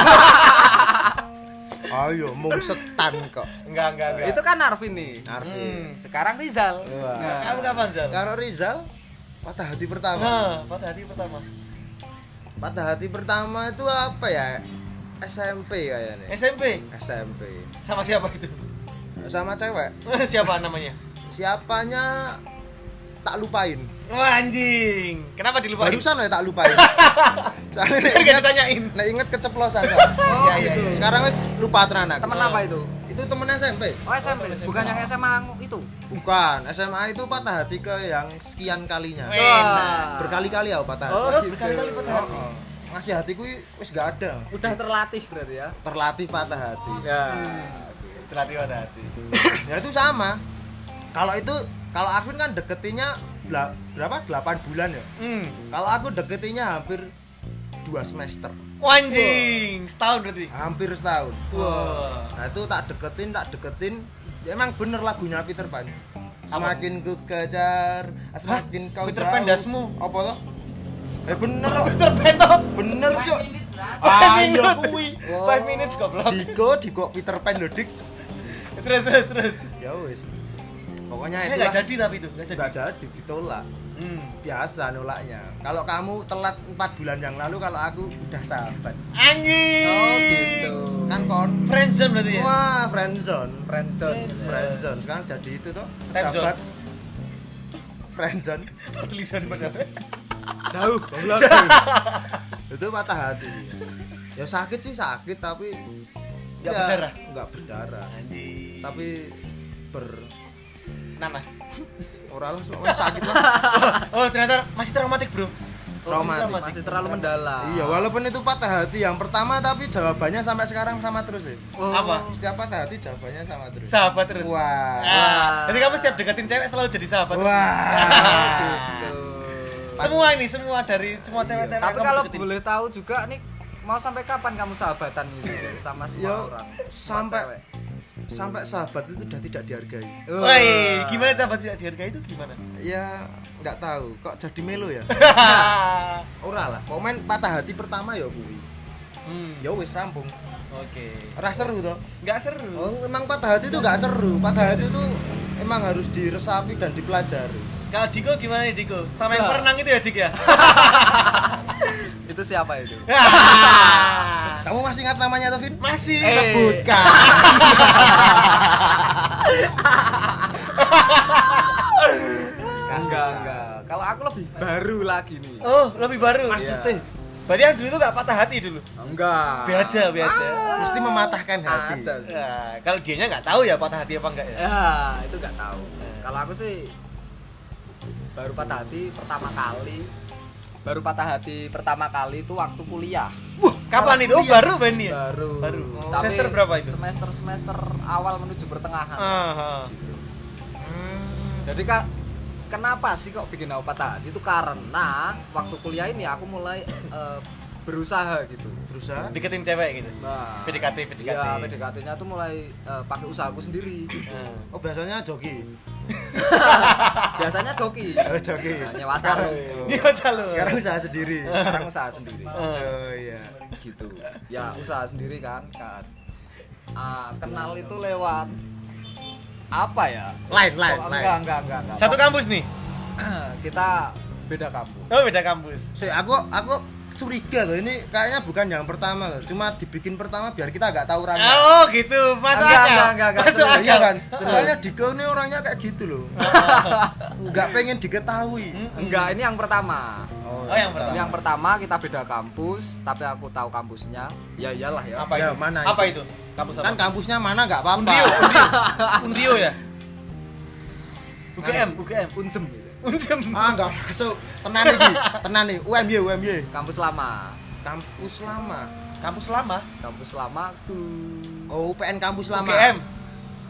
Speaker 3: Ayo mung setan kok.
Speaker 1: Enggak, enggak, enggak.
Speaker 2: Itu kan Arvin nih.
Speaker 3: Arti.
Speaker 1: Hmm.
Speaker 2: Sekarang Rizal.
Speaker 3: Wah.
Speaker 2: Nah,
Speaker 1: Kamu kapan, Zal?
Speaker 3: Karo Rizal patah hati pertama.
Speaker 1: Nah, patah hati pertama.
Speaker 3: Patah hati pertama itu apa ya? SMP kayaknya.
Speaker 1: SMP
Speaker 3: SMP.
Speaker 1: sama siapa itu? [LAUGHS]
Speaker 3: Sama cewek.
Speaker 1: siapa namanya?
Speaker 3: Siapanya tak lupain.
Speaker 1: Wah, anjing. Kenapa dilupain? [LAUGHS]
Speaker 3: Barusan ya tak lupain. Soalnya nek
Speaker 1: Biar gak
Speaker 3: ingat-
Speaker 1: ditanyain.
Speaker 3: nek inget keceplosan.
Speaker 2: Oh,
Speaker 1: Iya, iya,
Speaker 2: gitu.
Speaker 1: iya.
Speaker 3: Sekarang wis lupa tenanan.
Speaker 2: Temen
Speaker 1: Oh.
Speaker 2: apa itu?
Speaker 3: Itu temen SMP.
Speaker 2: Oh SMP, bukan yang SMA itu.
Speaker 3: Bukan, SMA itu patah hati ke yang sekian kalinya.
Speaker 1: Weh.
Speaker 2: Oh,
Speaker 1: Enak.
Speaker 2: Wah.
Speaker 3: Berkali-kali aku patah hati.
Speaker 2: Oh,
Speaker 1: Oh,
Speaker 2: gitu.
Speaker 1: berkali-kali patah hati.
Speaker 3: Heeh. Ngasih hatiku i- wis gak ada.
Speaker 2: Udah terlatih berarti ya.
Speaker 3: Terlatih patah hati.
Speaker 2: Ya.
Speaker 1: Hmm. Terlatih pada hati.
Speaker 3: Ya itu sama. Kalau itu kalau Arvin kan deketinnya bela- berapa? 8 bulan ya.
Speaker 1: Hmm.
Speaker 3: Kalau aku deketinnya hampir 2 semester.
Speaker 1: Wah, anjing. Setahun berarti.
Speaker 3: Hampir setahun.
Speaker 1: Wah.
Speaker 3: Nah itu tak deketin, tak deketin. Ya emang bener lagunya Peter Pan. Semakin ku kejar, semakin kau
Speaker 1: Peter
Speaker 3: jauh.
Speaker 1: Pan dasmu?
Speaker 3: Apa toh? Eh bener loh.
Speaker 1: Peter Pan toh.
Speaker 3: Bener, Cuk. Ah,
Speaker 1: Five
Speaker 3: Ayo
Speaker 1: minutes.
Speaker 3: kuwi.
Speaker 1: Five minutes goblok.
Speaker 3: Diko, Diko Peter Pan lho, Dik.
Speaker 1: Terus terus terus.
Speaker 3: Ya wis. Pokoknya
Speaker 1: Ini
Speaker 3: itu
Speaker 1: enggak jadi tapi itu, enggak jadi.
Speaker 3: Enggak jadi ditolak.
Speaker 1: Hmm.
Speaker 3: Biasa nolaknya. Kalau kamu telat 4 bulan yang lalu, kalau aku udah sahabat.
Speaker 1: Anjing.
Speaker 2: Oh gitu.
Speaker 3: Kan kon.
Speaker 1: Friendzone berarti ya.
Speaker 3: Wah, friendzone.
Speaker 2: Friendzone.
Speaker 3: Friendzone. Sekarang jadi itu toh.
Speaker 1: Time zone.
Speaker 3: Sahabat. Friendzone.
Speaker 1: Tulisan bener.
Speaker 3: Jauh, goblok. [LAUGHS] itu patah hati. Ya sakit sih sakit tapi
Speaker 1: Nggak berdarah?
Speaker 3: Enggak berdarah.
Speaker 1: Anjing.
Speaker 3: tapi ber
Speaker 1: Nama. [LAUGHS]
Speaker 3: orang lah soalnya sakit lah
Speaker 1: Oh, ternyata masih traumatik, Bro.
Speaker 3: traumatik
Speaker 2: Masih terlalu mendalam.
Speaker 3: iya walaupun itu patah hati yang pertama tapi jawabannya sampai sekarang sama terus ya
Speaker 2: Oh.
Speaker 1: Apa?
Speaker 3: setiap patah hati jawabannya sama terus
Speaker 1: Sahabat terus.
Speaker 3: wah
Speaker 1: Ah, jadi kamu setiap deketin cewek selalu jadi sahabat.
Speaker 3: wah
Speaker 2: Gitu.
Speaker 1: Semua ini semua dari semua cewek-cewek.
Speaker 2: Iya. Tapi
Speaker 1: kamu
Speaker 2: kalau
Speaker 1: deketin.
Speaker 2: boleh tahu juga nih mau sampai kapan kamu sahabatan gitu sama semua
Speaker 3: Yo,
Speaker 2: orang? Sama
Speaker 3: sampai-
Speaker 2: cewek?
Speaker 3: sampai sahabat itu udah tidak dihargai
Speaker 1: Woi, gimana sahabat tidak dihargai itu
Speaker 2: [LAUGHS]
Speaker 1: gimana?
Speaker 3: ya nggak tahu kok jadi melo ya ora lah momen patah hati pertama ya kuwi
Speaker 1: hmm,
Speaker 3: ya wis rampung
Speaker 1: oke.
Speaker 3: ora seru toh
Speaker 1: Enggak seru.
Speaker 3: oh, emang patah hati itu nggak seru patah hati itu emang harus diresapi dan dipelajari
Speaker 1: Kalau Diko gimana nih Diko? Sama yang
Speaker 2: Ya.
Speaker 1: perenang itu ya Dik
Speaker 2: [LAUGHS]
Speaker 1: ya?
Speaker 2: Itu siapa itu?
Speaker 3: Kamu masih ingat namanya Tovin?
Speaker 1: Masih.
Speaker 2: Eh.
Speaker 3: Sebutkan. Kasih
Speaker 2: Enggak,
Speaker 3: tahu.
Speaker 2: enggak. Kalau aku lebih baru lagi nih.
Speaker 1: Oh, lebih baru.
Speaker 3: Maksudnya?
Speaker 1: Iya. Berarti yang dulu tuh enggak patah hati dulu.
Speaker 2: Enggak.
Speaker 1: Biasa, biasa.
Speaker 2: Ah.
Speaker 3: Mesti mematahkan hati.
Speaker 2: Aja sih.
Speaker 1: Nah, kalau dianya nggak tahu ya patah hati apa enggak ya?
Speaker 2: Ya, itu enggak tahu. Kalau aku sih baru patah hati pertama kali. Baru patah hati pertama kali itu waktu kuliah.
Speaker 1: Kapan itu? Oh, baru Ben ya?
Speaker 2: Baru.
Speaker 1: Baru.
Speaker 2: Tapi
Speaker 1: Semester berapa itu? Ah.
Speaker 2: Semester-semester awal menuju pertengahan.
Speaker 1: Aha. Hmm.
Speaker 2: Jadi kak kenapa sih kok bikin aku patah hati? Itu karena waktu kuliah ini aku mulai eh, berusaha gitu.
Speaker 3: Berusaha.
Speaker 1: Deketin cewek gitu.
Speaker 2: Nah,
Speaker 1: PDKT, PDKT.
Speaker 2: Iya,
Speaker 1: [LAUGHS]
Speaker 2: PDKT-nya tuh mulai eh, pakai usahaku sendiri.
Speaker 1: Nah.
Speaker 3: Oh biasanya joki.
Speaker 2: Biasanya joki.
Speaker 3: Oh joki.
Speaker 2: Nah, nyewa calo.
Speaker 1: Dia Iya, calo.
Speaker 3: Sekarang usaha
Speaker 2: [LAUGHS]
Speaker 3: sendiri.
Speaker 2: Sekarang usaha sendiri
Speaker 1: Eh,
Speaker 3: Oh iya.
Speaker 2: gitu. Ya, usaha sendiri kan. kan. Ah, kenal itu lewat apa ya?
Speaker 3: Lain, lain,
Speaker 2: Oh,
Speaker 3: lain.
Speaker 2: enggak, enggak, enggak, enggak.
Speaker 1: Satu kampus nih.
Speaker 2: [CLEARS THROAT] Kita beda kampung.
Speaker 1: Oh, beda kampus.
Speaker 3: Si aku aku curiga loh ini kayaknya bukan yang pertama loh. Cuma dibikin pertama biar kita agak tahu orangnya.
Speaker 1: Oh, gitu. Masuk
Speaker 2: Enggak,
Speaker 1: akal.
Speaker 2: enggak, enggak, enggak.
Speaker 1: Masuk
Speaker 2: Serius,
Speaker 1: akal.
Speaker 3: Iya kan? Soalnya Diko ini orangnya kayak gitu
Speaker 1: [LAUGHS]
Speaker 3: loh. Enggak pengen diketahui.
Speaker 2: Enggak, ini yang pertama.
Speaker 1: Hmm. Oh, yang pertama.
Speaker 2: Ini yang pertama kita beda kampus, tapi aku tahu kampusnya. Ya iyalah ya.
Speaker 1: Apa
Speaker 3: Ya,
Speaker 1: itu?
Speaker 3: mana
Speaker 1: apa itu? Kampus apa?
Speaker 3: Kan kampusnya mana nggak
Speaker 1: Unrio,
Speaker 3: apa-apa.
Speaker 1: Unrio, Unrio ya? UGM, UGM,
Speaker 2: Unjem gitu.
Speaker 1: Unjem.
Speaker 3: Ah, enggak masuk. Tenan iki, tenan nih. UMY, UMY.
Speaker 2: Kampus lama.
Speaker 3: Kampus lama.
Speaker 1: Kampus lama,
Speaker 2: Kampus lama tuh.
Speaker 3: Oh, UPN kampus lama.
Speaker 1: UGM.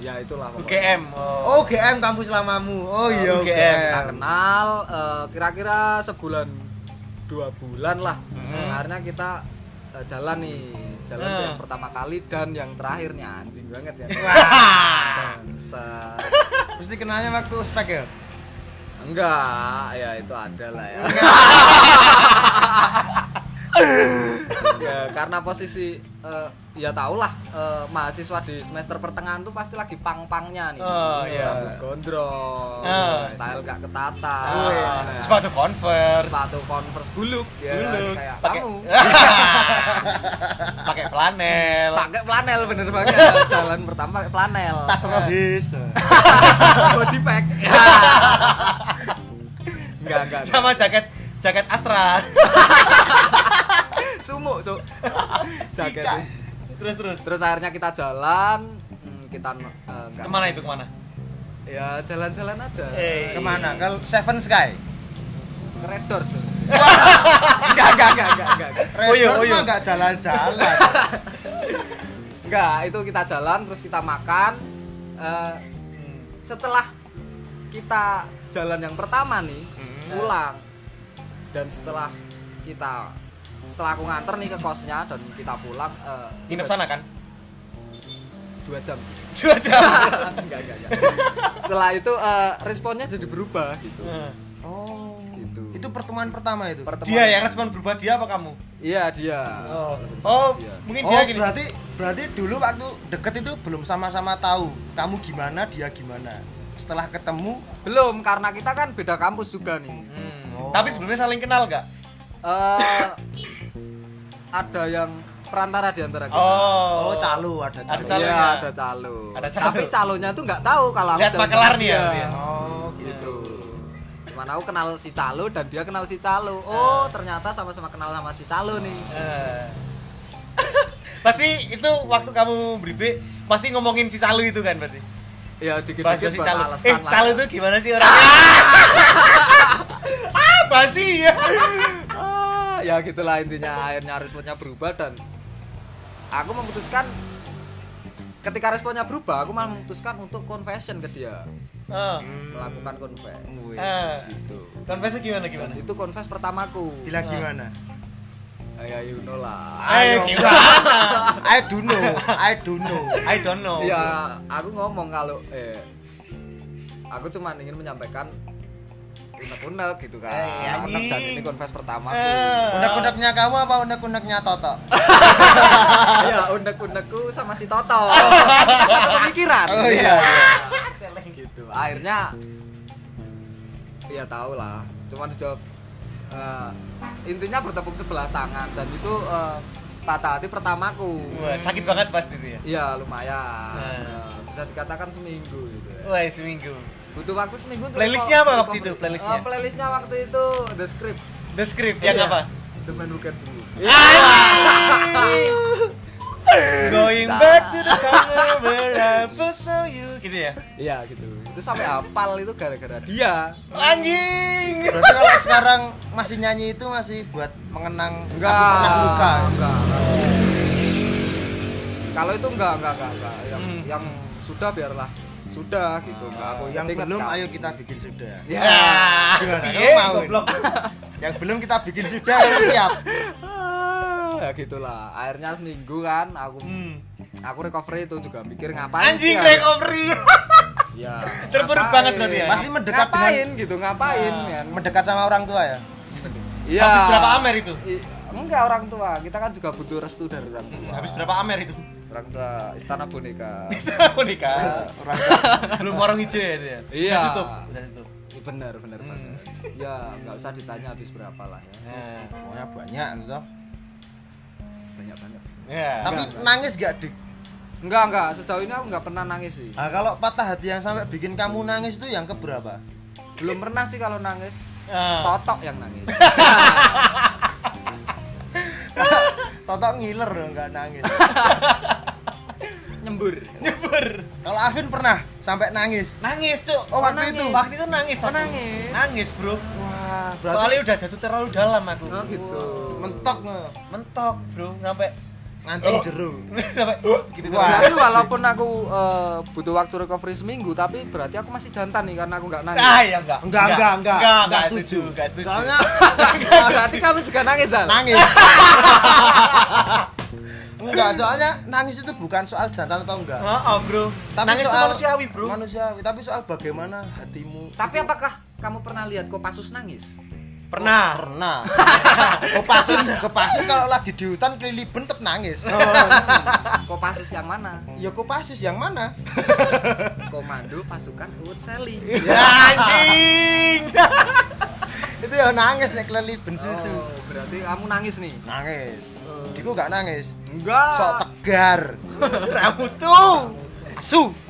Speaker 2: ya itulah pokoknya.
Speaker 1: UGM oh, [LAUGHS]
Speaker 3: Oh GM kampus lamamu. Oh iya
Speaker 1: Oh,
Speaker 3: UGM.
Speaker 1: UGM.
Speaker 2: kita Nah, kenal eh, kira-kira sebulan dua bulan lah akhirnya kita eh, jalan nih jalan tuh
Speaker 1: Hmm.
Speaker 2: yang pertama kali dan yang terakhirnya anjing banget ya Bangsat.
Speaker 3: Pasti kenalnya waktu ospek ya.
Speaker 2: enggak ya itu ada lah ya Ya, karena posisi eh, ya tau lah eh, mahasiswa di semester pertengahan tuh pasti lagi pang-pangnya nih
Speaker 1: Oh, iya.
Speaker 2: rambut gondrong
Speaker 1: Ah.
Speaker 2: style gak ketata Nah,
Speaker 1: sepatu converse
Speaker 2: sepatu converse buluk ya
Speaker 1: dulu
Speaker 2: kayak
Speaker 1: pakai [LAUGHS]
Speaker 2: kamu
Speaker 1: pakai flanel
Speaker 2: pakai flanel bener
Speaker 1: [LAUGHS]
Speaker 2: banget jalan pertama pakai flanel
Speaker 3: Tas robis.
Speaker 2: [LAUGHS] body
Speaker 1: [LAUGHS]
Speaker 2: pack Nah. enggak enggak enggak.
Speaker 1: sama jaket jaket Astra [LAUGHS]
Speaker 2: sumuk cuk jaket
Speaker 3: Sikat.
Speaker 1: terus terus
Speaker 2: terus akhirnya kita jalan hmm, kita eh, enggak
Speaker 1: kemana itu kemana
Speaker 2: ya jalan-jalan aja
Speaker 1: Eh.
Speaker 3: Kemana? Ke Seven Sky.
Speaker 2: ke Red Doors
Speaker 1: [LAUGHS]
Speaker 2: Cuk. enggak enggak enggak enggak enggak
Speaker 1: Oh iya, oh iya.
Speaker 3: Enggak jalan-jalan.
Speaker 2: enggak itu kita jalan terus kita makan Eh, setelah kita jalan yang pertama nih
Speaker 1: Hmm.
Speaker 2: pulang dan setelah kita setelah aku nganter nih ke kosnya dan kita pulang eh,
Speaker 1: nginep sana kan
Speaker 2: dua jam sih [LAUGHS]
Speaker 1: dua jam
Speaker 2: enggak enggak enggak setelah itu eh, responnya jadi berubah gitu
Speaker 3: Oh.
Speaker 2: Gitu.
Speaker 3: Itu pertemuan pertama itu.
Speaker 2: Pertemuan-
Speaker 1: dia yang respon berubah dia apa kamu
Speaker 2: iya dia
Speaker 1: oh, oh
Speaker 2: Dia.
Speaker 1: mungkin
Speaker 3: Oh,
Speaker 1: dia gini
Speaker 3: berarti berarti dulu waktu deket itu belum sama-sama tahu kamu gimana, dia gimana. Setelah ketemu,
Speaker 2: belum karena kita kan beda kampus juga nih
Speaker 1: Hmm. tapi sebelumnya saling kenal gak
Speaker 2: Eh, ada yang perantara di antara kita
Speaker 1: oh
Speaker 3: oh, calo
Speaker 1: Ada
Speaker 3: ada calo.
Speaker 1: calo.
Speaker 2: Iya,
Speaker 1: Calonnya.
Speaker 2: ada calo.
Speaker 1: Ada calo.
Speaker 2: Tapi calonya tuh nggak tahu kalau aku
Speaker 1: lihat
Speaker 2: jalan
Speaker 1: makelar
Speaker 2: sama
Speaker 1: nih ya
Speaker 2: dia.
Speaker 1: dia.
Speaker 3: Oh, gitu.
Speaker 2: Gitu. Cuman aku kenal si calo dan dia kenal si calo. Oh, ternyata sama-sama kenal sama si calo nih.
Speaker 1: Eh. [LAUGHS] pasti itu waktu kamu bribe pasti ngomongin si Salu itu kan berarti
Speaker 2: Ya
Speaker 1: bahas
Speaker 2: dikit-dikit
Speaker 1: si
Speaker 2: buat
Speaker 1: Salu
Speaker 2: alasan
Speaker 1: eh
Speaker 2: lah.
Speaker 1: Salu tuh gimana sih orangnya ah basi ya
Speaker 2: Ah, ya gitulah intinya akhirnya responnya berubah dan aku memutuskan ketika responnya berubah aku malah memutuskan untuk confession ke dia
Speaker 1: [LAUGHS] oh.
Speaker 2: melakukan confess
Speaker 1: Eh.
Speaker 2: gitu
Speaker 1: Confess-nya gimana
Speaker 2: dan
Speaker 1: gimana
Speaker 2: itu confess pertamaku
Speaker 3: Bilang gimana? [LAUGHS]
Speaker 2: ya you know lah
Speaker 1: Ayo Eh, gimana?
Speaker 3: I don't know, I don't know.
Speaker 1: I don't know.
Speaker 2: Ya, aku ngomong kalau eh aku cuma ingin menyampaikan unek-unek gitu kan.
Speaker 1: Eh,
Speaker 2: unek dan
Speaker 1: anjing. Eh.
Speaker 2: ini confess pertamaku.
Speaker 3: Unek-uneknya kamu apa unek-uneknya Toto?
Speaker 2: ya, unek-unekku sama si Toto.
Speaker 1: [LAUGHS]
Speaker 2: Kita Satu pemikiran.
Speaker 3: Oh, iya.
Speaker 2: gitu. Akhirnya ya tau lah, cuma dijawab eh, intinya bertepuk sebelah tangan dan itu eh, patah hati pertamaku.
Speaker 1: Wah, sakit banget pasti itu ya.
Speaker 2: Iya, lumayan.
Speaker 1: Nah.
Speaker 2: Eh, bisa dikatakan seminggu gitu. ya.
Speaker 1: Wah, seminggu.
Speaker 2: butuh waktu seminggu untuk
Speaker 1: Playlistnya apa
Speaker 2: recover-
Speaker 1: waktu itu,
Speaker 2: recovery.
Speaker 1: playlistnya?
Speaker 2: Eh, playlistnya waktu itu The Script
Speaker 1: The script yang
Speaker 2: Iya.
Speaker 1: apa?
Speaker 2: The Man Who Can Blue
Speaker 1: Going back to the corner where I first saw you. Gitu ya.
Speaker 2: [LAUGHS] iya gitu itu sampai hafal itu gara-gara dia
Speaker 1: Anjing.
Speaker 3: Berarti kalau sekarang masih nyanyi itu masih buat mengenang
Speaker 2: enggak
Speaker 3: aku pernah luka.
Speaker 2: enggak kalau itu enggak enggak enggak, enggak. yang
Speaker 1: Hmm.
Speaker 2: yang sudah biarlah sudah gitu enggak aku
Speaker 3: yang
Speaker 2: ingat,
Speaker 3: belum
Speaker 2: Kak.
Speaker 3: ayo kita bikin sudah.
Speaker 2: ya
Speaker 3: Gimana? Kamu
Speaker 1: Iya,
Speaker 3: mau?
Speaker 1: goblok.
Speaker 3: Yang belum kita bikin sudah, kamu siap.
Speaker 2: Ah, ya gitulah akhirnya seminggu kan aku
Speaker 1: Hmm.
Speaker 2: aku recovery itu juga mikir ngapain
Speaker 1: Anjing
Speaker 2: sih ya?
Speaker 1: recovery.
Speaker 2: ya
Speaker 1: Terpuruk
Speaker 2: ngapain?
Speaker 1: banget berarti ya.
Speaker 3: Pasti mendekat
Speaker 2: ngapain gitu ngapain men?
Speaker 3: Mendekat sama orang tua ya.
Speaker 2: Iya.
Speaker 1: Habis berapa amer itu?
Speaker 2: I- enggak orang tua kita kan juga butuh restu dari orang tua
Speaker 1: Habis berapa amer itu?
Speaker 2: orang tua istana boneka
Speaker 1: Sama nikah. Belum warung hijau ya dia.
Speaker 2: Iya.
Speaker 1: Udah Tutup. Udah tutup.
Speaker 2: Iya, benar benar benar ya nggak usah ditanya habis berapa lah ya
Speaker 1: Nah.
Speaker 3: Pokoknya banyak gitu.
Speaker 2: banyak banyak
Speaker 1: Ya.
Speaker 3: Tapi nangis gak dik?
Speaker 2: enggak enggak sejauh ini aku nggak pernah nangis sih
Speaker 3: Nah, kalau patah hati yang sampai bikin kamu nangis itu yang keberapa?
Speaker 2: belum pernah sih kalau nangis
Speaker 1: Ah.
Speaker 2: totok yang
Speaker 1: [LAUGHS]
Speaker 2: nangis
Speaker 3: Toto ngiler dong nggak nangis.
Speaker 2: nyembur
Speaker 1: Nyebur.
Speaker 3: Kalau Afin pernah sampai nangis.
Speaker 1: Nangis, Cuk.
Speaker 3: Oh, waktu
Speaker 1: Nangis.
Speaker 3: itu?
Speaker 1: Waktu itu nangis aku.
Speaker 2: nangis?
Speaker 1: Nangis, Bro.
Speaker 3: Wah, berarti
Speaker 1: Soalnya udah jatuh terlalu dalam aku.
Speaker 2: oh gitu
Speaker 3: mentok nge.
Speaker 1: Mentok, Bro. Sampai
Speaker 3: ngancing jero
Speaker 1: [LAUGHS] Sampai, gitu
Speaker 3: Uh, Wah.
Speaker 1: coba.
Speaker 2: Berarti walaupun aku eh, butuh waktu recovery seminggu tapi berarti aku masih jantan nih karena aku nggak nangis.
Speaker 1: Ah, iya enggak.
Speaker 3: enggak enggak enggak
Speaker 1: Enggak, enggak
Speaker 3: setuju
Speaker 1: setuju, enggak setuju.
Speaker 3: soalnya
Speaker 2: Oh, berarti kamu juga nangis Zal.
Speaker 3: nangis [LAUGHS] enggak soalnya nangis itu bukan soal jantan atau enggak
Speaker 1: Heeh, Bro.
Speaker 3: tapi
Speaker 1: Nangis itu
Speaker 3: soal
Speaker 1: manusiawi, Bro.
Speaker 3: manusiawi tapi soal bagaimana hatimu
Speaker 2: Tapi apakah kamu pernah lihat Kopassus nangis?
Speaker 1: Pernah.
Speaker 3: pernah kepasus kepasus kalau lagi di hutan keliliben tetep nangis
Speaker 2: Kopassus yang mana?
Speaker 3: ya kepasus yang mana
Speaker 2: Komando Pasukan Uwut Seli.
Speaker 1: Ya anjing.
Speaker 3: itu ya nangis nek keliliben susu
Speaker 2: Oh, berarti kamu nangis Ah. nih.
Speaker 3: nangis diku gak nangis
Speaker 2: Enggak.
Speaker 3: sok tegar
Speaker 1: Rambut tuh. Asu.